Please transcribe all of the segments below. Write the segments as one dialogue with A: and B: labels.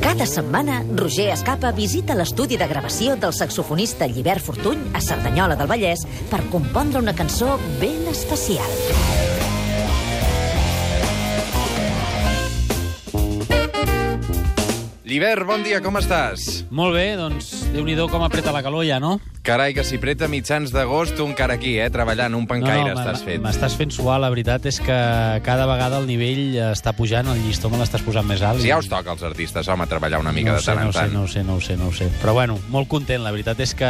A: Cada setmana, Roger Escapa visita l'estudi de gravació del saxofonista Llibert Fortuny a Cerdanyola del Vallès per compondre una cançó ben especial.
B: Llibert, bon dia, com estàs?
C: Molt bé, doncs déu nhi -do com apreta la calor ja, no?
B: Carai, que si preta mitjans d'agost, tu encara aquí, eh, treballant, un pencaire
C: no,
B: estàs fent.
C: M'estàs fent suar, la veritat és que cada vegada el nivell està pujant, el llistó me l'estàs posant més alt.
B: Si ja us toca als artistes, home, treballar una mica
C: no ho
B: de
C: sé,
B: tant
C: no
B: en
C: ho sé,
B: tant.
C: no ho sé, no ho sé, no ho sé. Però bueno, molt content, la veritat és que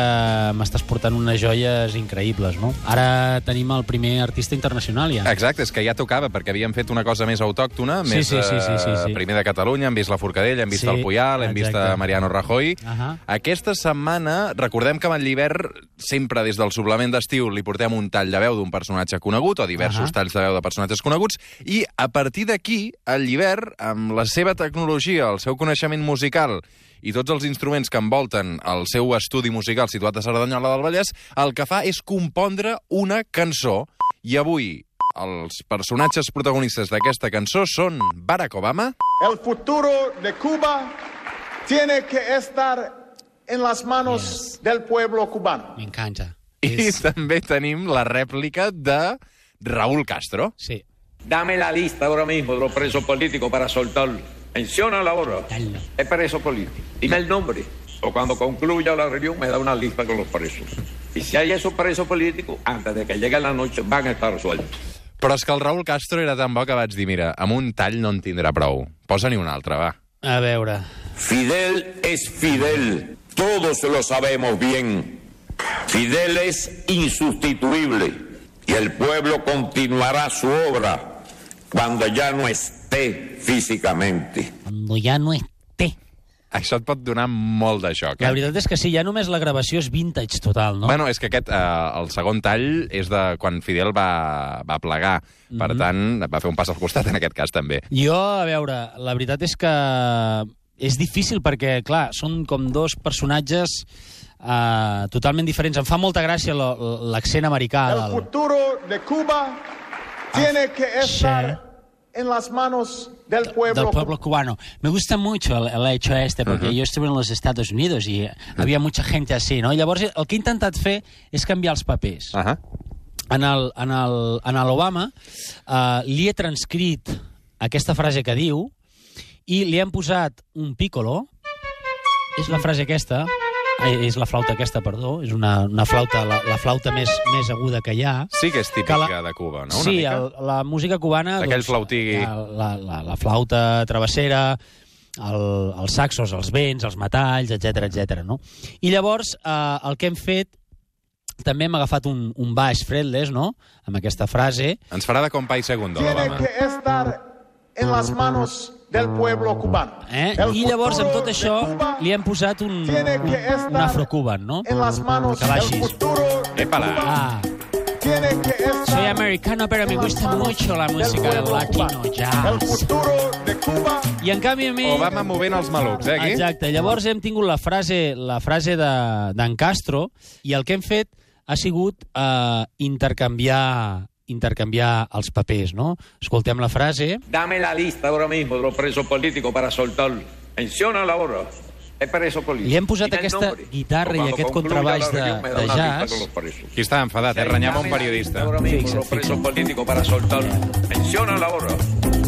C: m'estàs portant unes joies increïbles, no? Ara tenim el primer artista internacional ja.
B: Exacte, és que ja tocava, perquè havíem fet una cosa més autòctona,
C: Sí,
B: més
C: sí, sí, sí, sí,
B: eh,
C: sí.
B: primer de Catalunya, hem vist la Forcadell, hem vist
C: Sí,
B: el Puyal, hem vist
C: exacte.
B: a Mariano Rajoy.
C: Ahà.
B: Aquesta setmana, recordem que amb el Llibert, sempre des del suplement d'estiu, li portem un tall de veu d'un personatge conegut, o diversos
C: Ahà.
B: talls de veu de personatges coneguts, i a partir d'aquí, el Llibert, amb la seva tecnologia, el seu coneixement musical i tots els instruments que envolten el seu estudi musical situat a Cerdanyola del Vallès, el que fa és compondre una cançó. I avui, els personatges protagonistes d'aquesta cançó són Barack Obama,
D: El futuro de Cuba tiene que estar en las manos del pueblo cubano.
C: M'encanta.
B: I
C: És...
B: també tenim la rèplica de Raúl Castro.
C: Sí.
E: Dame la lista ahora mismo de los presos políticos para soltarlo. Menciona la hora.
C: Dale.
E: Es preso político. Dime el nombre. O cuando concluya la reunión me da una lista con los presos. Y si hay esos presos políticos, antes de que llegue la noche van a estar sueltos.
B: Però és que el Raúl Castro era tan bo que vaig dir, mira, amb un tall no en tindrà prou. Posa-n'hi un altre, va.
C: A veure...
F: Fidel es Fidel, todos lo sabemos bien. Fidel es insustituible y el pueblo continuará su obra cuando ya no esté físicamente.
C: Cuando ya no esté.
B: Això et pot donar molt de xoc,
C: La
B: eh?
C: veritat és que sí, ja només la gravació és vintage total, no?
B: Bueno, és que aquest, eh, el segon tall és de quan Fidel va, va plegar. Per
C: Mhm.
B: tant, va fer un pas al costat en aquest cas, també.
C: Jo, a veure, la veritat és que és difícil perquè, clar, són com dos personatges eh, totalment diferents. Em fa molta gràcia lo- l'accent americà.
D: El
C: Del...
D: futuro de Cuba tiene que estar en las manos del
C: del
D: pueblo
C: pueblo
D: cubano.
C: cubano. Me gusta mucho el, el hecho este, porque uh -huh. yo estuve en los Estados Unidos y había mucha gente así, no? I llavors el que he intentat fer és canviar els papers.
B: Uh -huh.
C: en el, en el, en l'Obama eh, li he transcrit aquesta frase que diu i li hem posat un piccolo és la frase aquesta ai, és la flauta aquesta, perdó és una, una flauta, la, la flauta més, més aguda que hi ha
B: Sí que és típica
C: Que
B: la... de Cuba, no? Una
C: sí,
B: mica.
C: El, la música cubana...
B: Aquell flautí.
C: hi ha La, la, la flauta travessera, el, els saxos, els vents, els metalls, etc etc. no? I llavors, eh, el que hem fet, també hem agafat un, un baix fretless, no?, amb aquesta frase,
B: Ens farà de compai segundo,
D: Tiene
B: l'Obama.
D: que estar en las manos del pueblo cubano.
C: eh?
D: El
C: i llavors amb tot
D: futuro de
C: això
D: Cuba
C: li hem posat un, un,
D: tiene que estar
C: un afrocuban, no?
D: en las manos
C: Que va
D: del
C: així.
D: futuro de
B: Épala.
D: Cuba
C: Ah,
D: tiene que estar
C: soy americano, pero me
D: en las
C: gusta
D: manos
C: mucho la
D: del
C: música
D: pueblo
C: latino,
D: cubano. El Oh,
C: jazz.
D: futuro de Cuba
C: I en canvi a mi...
B: Obama movent els malucs, eh, aquí?
C: Exacte, llavors hem tingut la frase la frase de- d'en de, Castro i el que hem fet ha sigut eh, intercanviar intercanviar els papers, no? Escoltem la frase.
E: Dame la lista ahora mismo de los presos políticos para soltarlo. Menciona la hora. Es preso político.
C: Li hem posat
E: Dime el
C: aquesta
E: nombre.
C: guitarra
E: O
C: i
E: cuando
C: aquest
E: concluya
C: contrabaix
E: la
C: de-
E: reunión me da
C: de
E: una lista
C: jazz.
E: con los presos.
B: Aquí està enfadat, eh? Renyava un periodista.
E: Ahora mismo,
C: Fixa't,
E: los presos
C: fixa't.
E: políticos para soltarlo. Menciona la hora.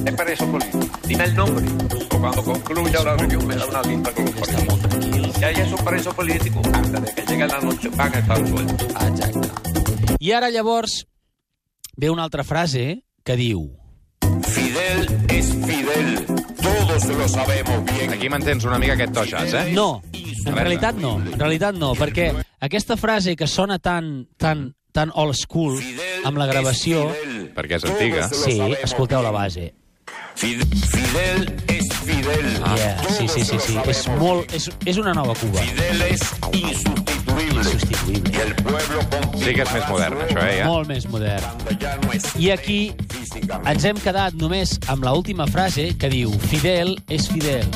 E: Es preso político. Dime el nombre. O cuando concluya la reunión me da una lista con los
C: Està
E: presos.
C: molt tranquil.
E: Si hay esos presos políticos, antes de que llegue la noche van a estar sueltos.
C: Exacte. I ara llavors ve una altra frase que diu...
F: Fidel es Fidel, todos lo sabemos bien.
B: Aquí mantens una mica aquest to jazz, eh?
C: No,
B: A
C: en
B: veure.
C: realitat no, en realitat no, perquè aquesta frase que sona tan, tan, tan old school
F: Fidel
C: amb la gravació...
F: es Fidel,
B: Perquè és antiga.
F: todos lo
C: Sí,
F: sabemos
C: escolteu la
F: bien.
C: base.
F: Fidel, Fidel es Fidel.
C: Ah, Yeah, sí, sí, sí, sí. És, molt, és, és una nova Cuba.
F: Fidel es insustituible.
C: Insustituible.
F: Y el pueblo
B: Sí que és més modern, això, eh, ja?
C: Molt més modern.
F: Cuando ya no esté
C: I aquí
F: físicamente.
C: ens hem quedat només amb la última frase que diu Fidel és Fidel.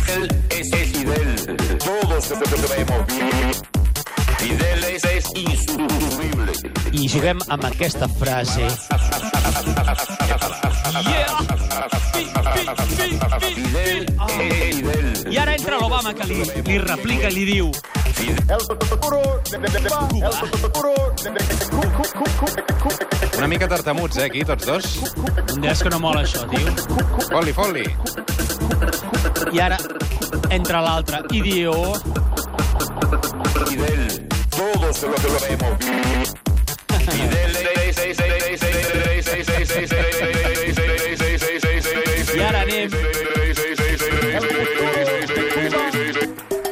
F: Fidel es es Fidel. Todos lo sabemos bien. Fidel es, es insustituible.
C: I juguem amb aquesta frase.
F: Fidel es Fidel.
C: I ara entra l'Obama que li, li replica i li diu
D: El futuro de, de, de, de Cuba. El futuro de, de, de Cu- Cu- Cu- Cu- de Cu- de-
B: Una mica tartamuts, eh, aquí, tots dos.
C: és que no mola això, tio.
B: Foli, foli.
C: I ara entra l'altre i diu
F: Fidel. Todos lo sabemos. Fidel es
C: i ara anem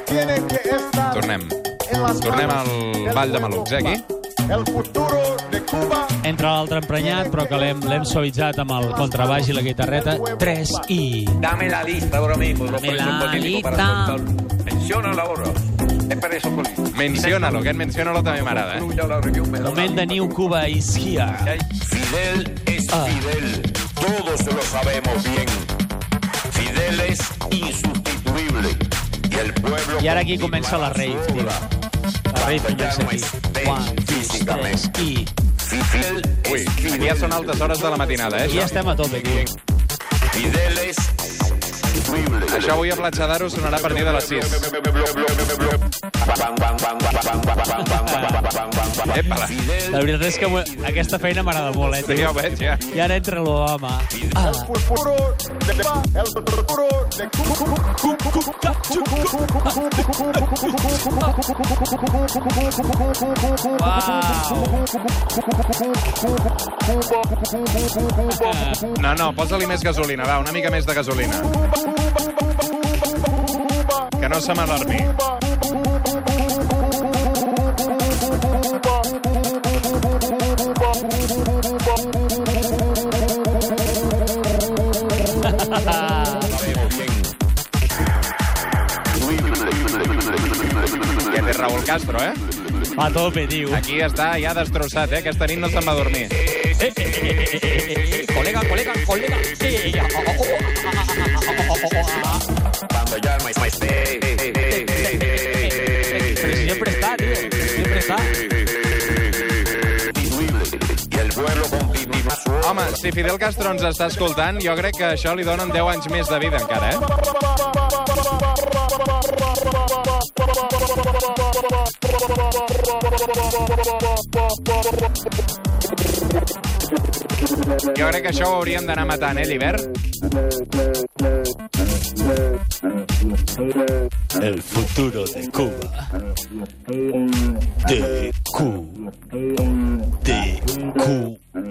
D: Tiene que estar
B: Tornem.
D: en las
B: Tornem
D: manos
B: al
D: del
B: Vall de
D: pueblo
B: Malucs, eh, aquí?
D: cubano. El futuro de Cuba.
C: entra l'altre emprenyat, però que l'hem l'hem suavitzat amb el contrabaix i la guitarreta. 3 i...
E: Dame la lista ahora mismo de los
C: Dame
E: presos
C: la
E: políticos para
C: lista.
E: soltarlo. Menciónala ahora. Es preso político.
B: Menciónalo, aquest menciónalo també m'agrada, eh?
E: Incluya la reunión, me da una
C: Moment de
E: lista
C: New
E: con-
C: Cuba is here.
F: Fidel es
C: Ah.
F: Fidel. Todos lo sabemos bien. Fidel es insustituible. Y el pueblo.
C: Y ahora aquí comienza la rave,
F: reina.
C: tío. La rave comença aquí. One, two, tres, i...
F: Fidel
B: Ui,
F: es Fidel.
B: aquí ja són altes hores de la matinada, eh,
C: I ja
B: això?
C: estem a tope, tio.
F: Fidel es insustituible.
B: Això avui a Platja d'Aro sonarà a partir de les 6. Epa-la.
C: La veritat és que m'ho- aquesta feina m'agrada molt, eh,
B: Sí, ja
C: tio.
B: ho veig, ja.
C: I ara entra l'Obama. Ah,
D: El futuro de Cuba. El futuro de Cu- Cu- Cu- Cu- Cu- Cu-
B: No, no, posa-li més gasolina, va, una mica més de gasolina. Que no se m'alarmi. Que té Raúl Castro, eh?
C: a tope, tio.
B: Aquí està ja destrossat, eh? Aquesta nit no se'n va a dormir.
C: Col·lega, col·lega, col·lega. Sí, ja. Oh, oh, oh. Sempre està, tio. Sempre està.
B: Home, si Fidel Castro ens està escoltant, jo crec que això li donen 10 anys més de vida encara, eh? Jo crec que això ho hauríem d'anar matant, eh, l'hivern?
G: El futuro de Cuba. De Cuba. De Cuba.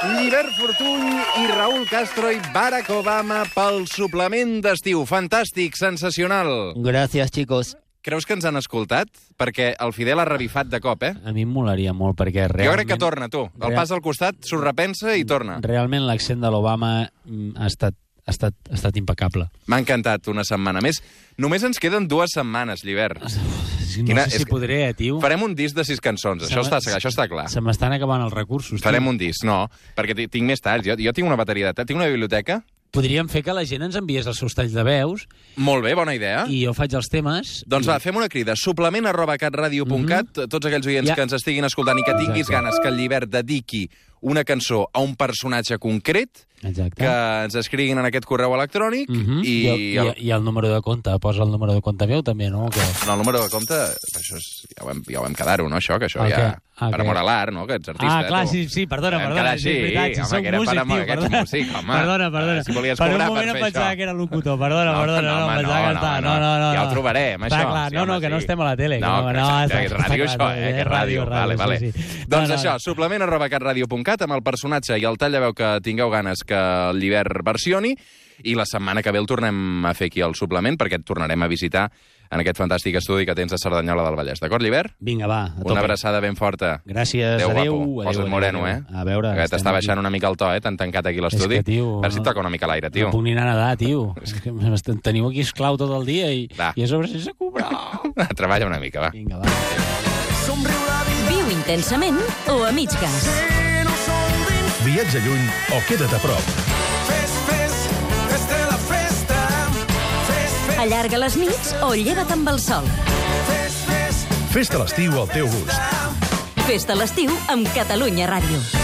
B: Llibert Ah. Fortuny i Raúl Castro i Barack Obama pel suplement d'estiu. Fantàstic, sensacional.
C: Gràcies, chicos.
B: Creus que ens han escoltat? Perquè el Fidel ha revifat de cop, eh?
C: A mi em molaria molt perquè realment...
B: Jo crec que torna, tu. El
C: Real-
B: pas al costat, s'ho repensa i torna.
C: Realment l'accent de l'Obama mm, ha estat, ha, estat, ha estat impecable.
B: M'ha encantat una setmana més. Només ens queden dues setmanes, l'hivern.
C: Ah, No
B: Quina-
C: sé
B: és
C: si
B: que-
C: podré, eh, tio.
B: Farem un disc de sis cançons, això
C: Se m'ha-
B: està, això està clar.
C: Se m'estan acabant els recursos. tio.
B: Farem un disc, no, perquè ti- tinc més talls. Jo, jo tinc una bateria de talls, tinc una biblioteca.
C: Podríem fer que la gent ens enviés els seus talls de veus
B: Molt bé, bona idea.
C: i jo faig els temes.
B: Doncs va, fem una crida. Suplement arroba catradio.cat. Tots aquells oients
C: Mhm. Ja.
B: que ens estiguin escoltant i que tinguis
C: Exacte.
B: ganes que el llibert dediqui una cançó a un personatge concret,
C: Exacte.
B: que ens escriguin en aquest correu electrònic
C: Mhm.
B: i...
C: I, el, i, I el número de compte, posa el número de compte meu també, no? Que...
B: No, el número de compte, això és, ja ho vam, ja ho vam quedar-ho, no, això? Que això
C: El
B: ja...
C: què? Ah,
B: per
C: què?
B: amor a l'art, no?, que ets artista.
C: ah, clar,
B: tu.
C: sí, sí, perdona,
B: Vam
C: perdona.
B: quedar
C: Sí, és
B: així,
C: veritat, si
B: home,
C: soc
B: que era
C: músic,
B: per amor,
C: tio,
B: que ets
C: perdona.
B: músic, home. Eh,
C: Perdona, perdona.
B: Si volies
C: per un
B: cobrar per
C: moment em
B: fer
C: pensava
B: això.
C: que era locutor, perdona,
B: No,
C: perdona.
B: no,
C: No,
B: home,
C: em pensava
B: no,
C: que estava-
B: no,
C: no, no, no,
B: ja ho
C: no.
B: trobarem,
C: Està
B: això,
C: clar,
B: sí,
C: no,
B: home,
C: no, que no
B: sí.
C: estem a la tele.
B: No,
C: que
B: que
C: no,
B: exacte, que és ràdio,
C: està- està clar,
B: això, eh, que és ràdio, vale, vale.
C: sí, sí.
B: Doncs
C: No, no,
B: això,
C: no.
B: suplement arroba catradio.cat amb el personatge i el tall de veu que tingueu ganes que el llibert versioni i la setmana que ve el tornem a fer aquí al suplement perquè et tornarem a visitar en aquest fantàstic estudi que tens a Cerdanyola del Vallès. D'acord, Llibert?
C: Vinga, va, a tope.
B: Una abraçada ben forta.
C: Gràcies,
B: Adéu,
C: adéu.
B: guapo.
C: adéu,
B: Posa't
C: adéu,
B: moreno,
C: adéu.
B: eh?
C: A veure...
B: Que
C: estem
B: t'està baixant
C: aquí.
B: una mica el to, eh? T'han tancat aquí l'estudi.
C: És que, tio,
B: A veure si et toca una mica l'aire, tio.
C: No puc ni anar a nedar, tio. És que m'est- teniu aquí esclau tot el dia i,
B: Va.
C: i a sobre sense cobrar.
B: Treballa una mica, va.
C: Vinga, va.
A: Viu intensament o a mig gas.
G: Viatja lluny o queda't a prop.
A: Allarga les nits o lleva't amb el sol.
G: Festa l'estiu al teu gust.
A: Festa l'estiu amb Catalunya Ràdio.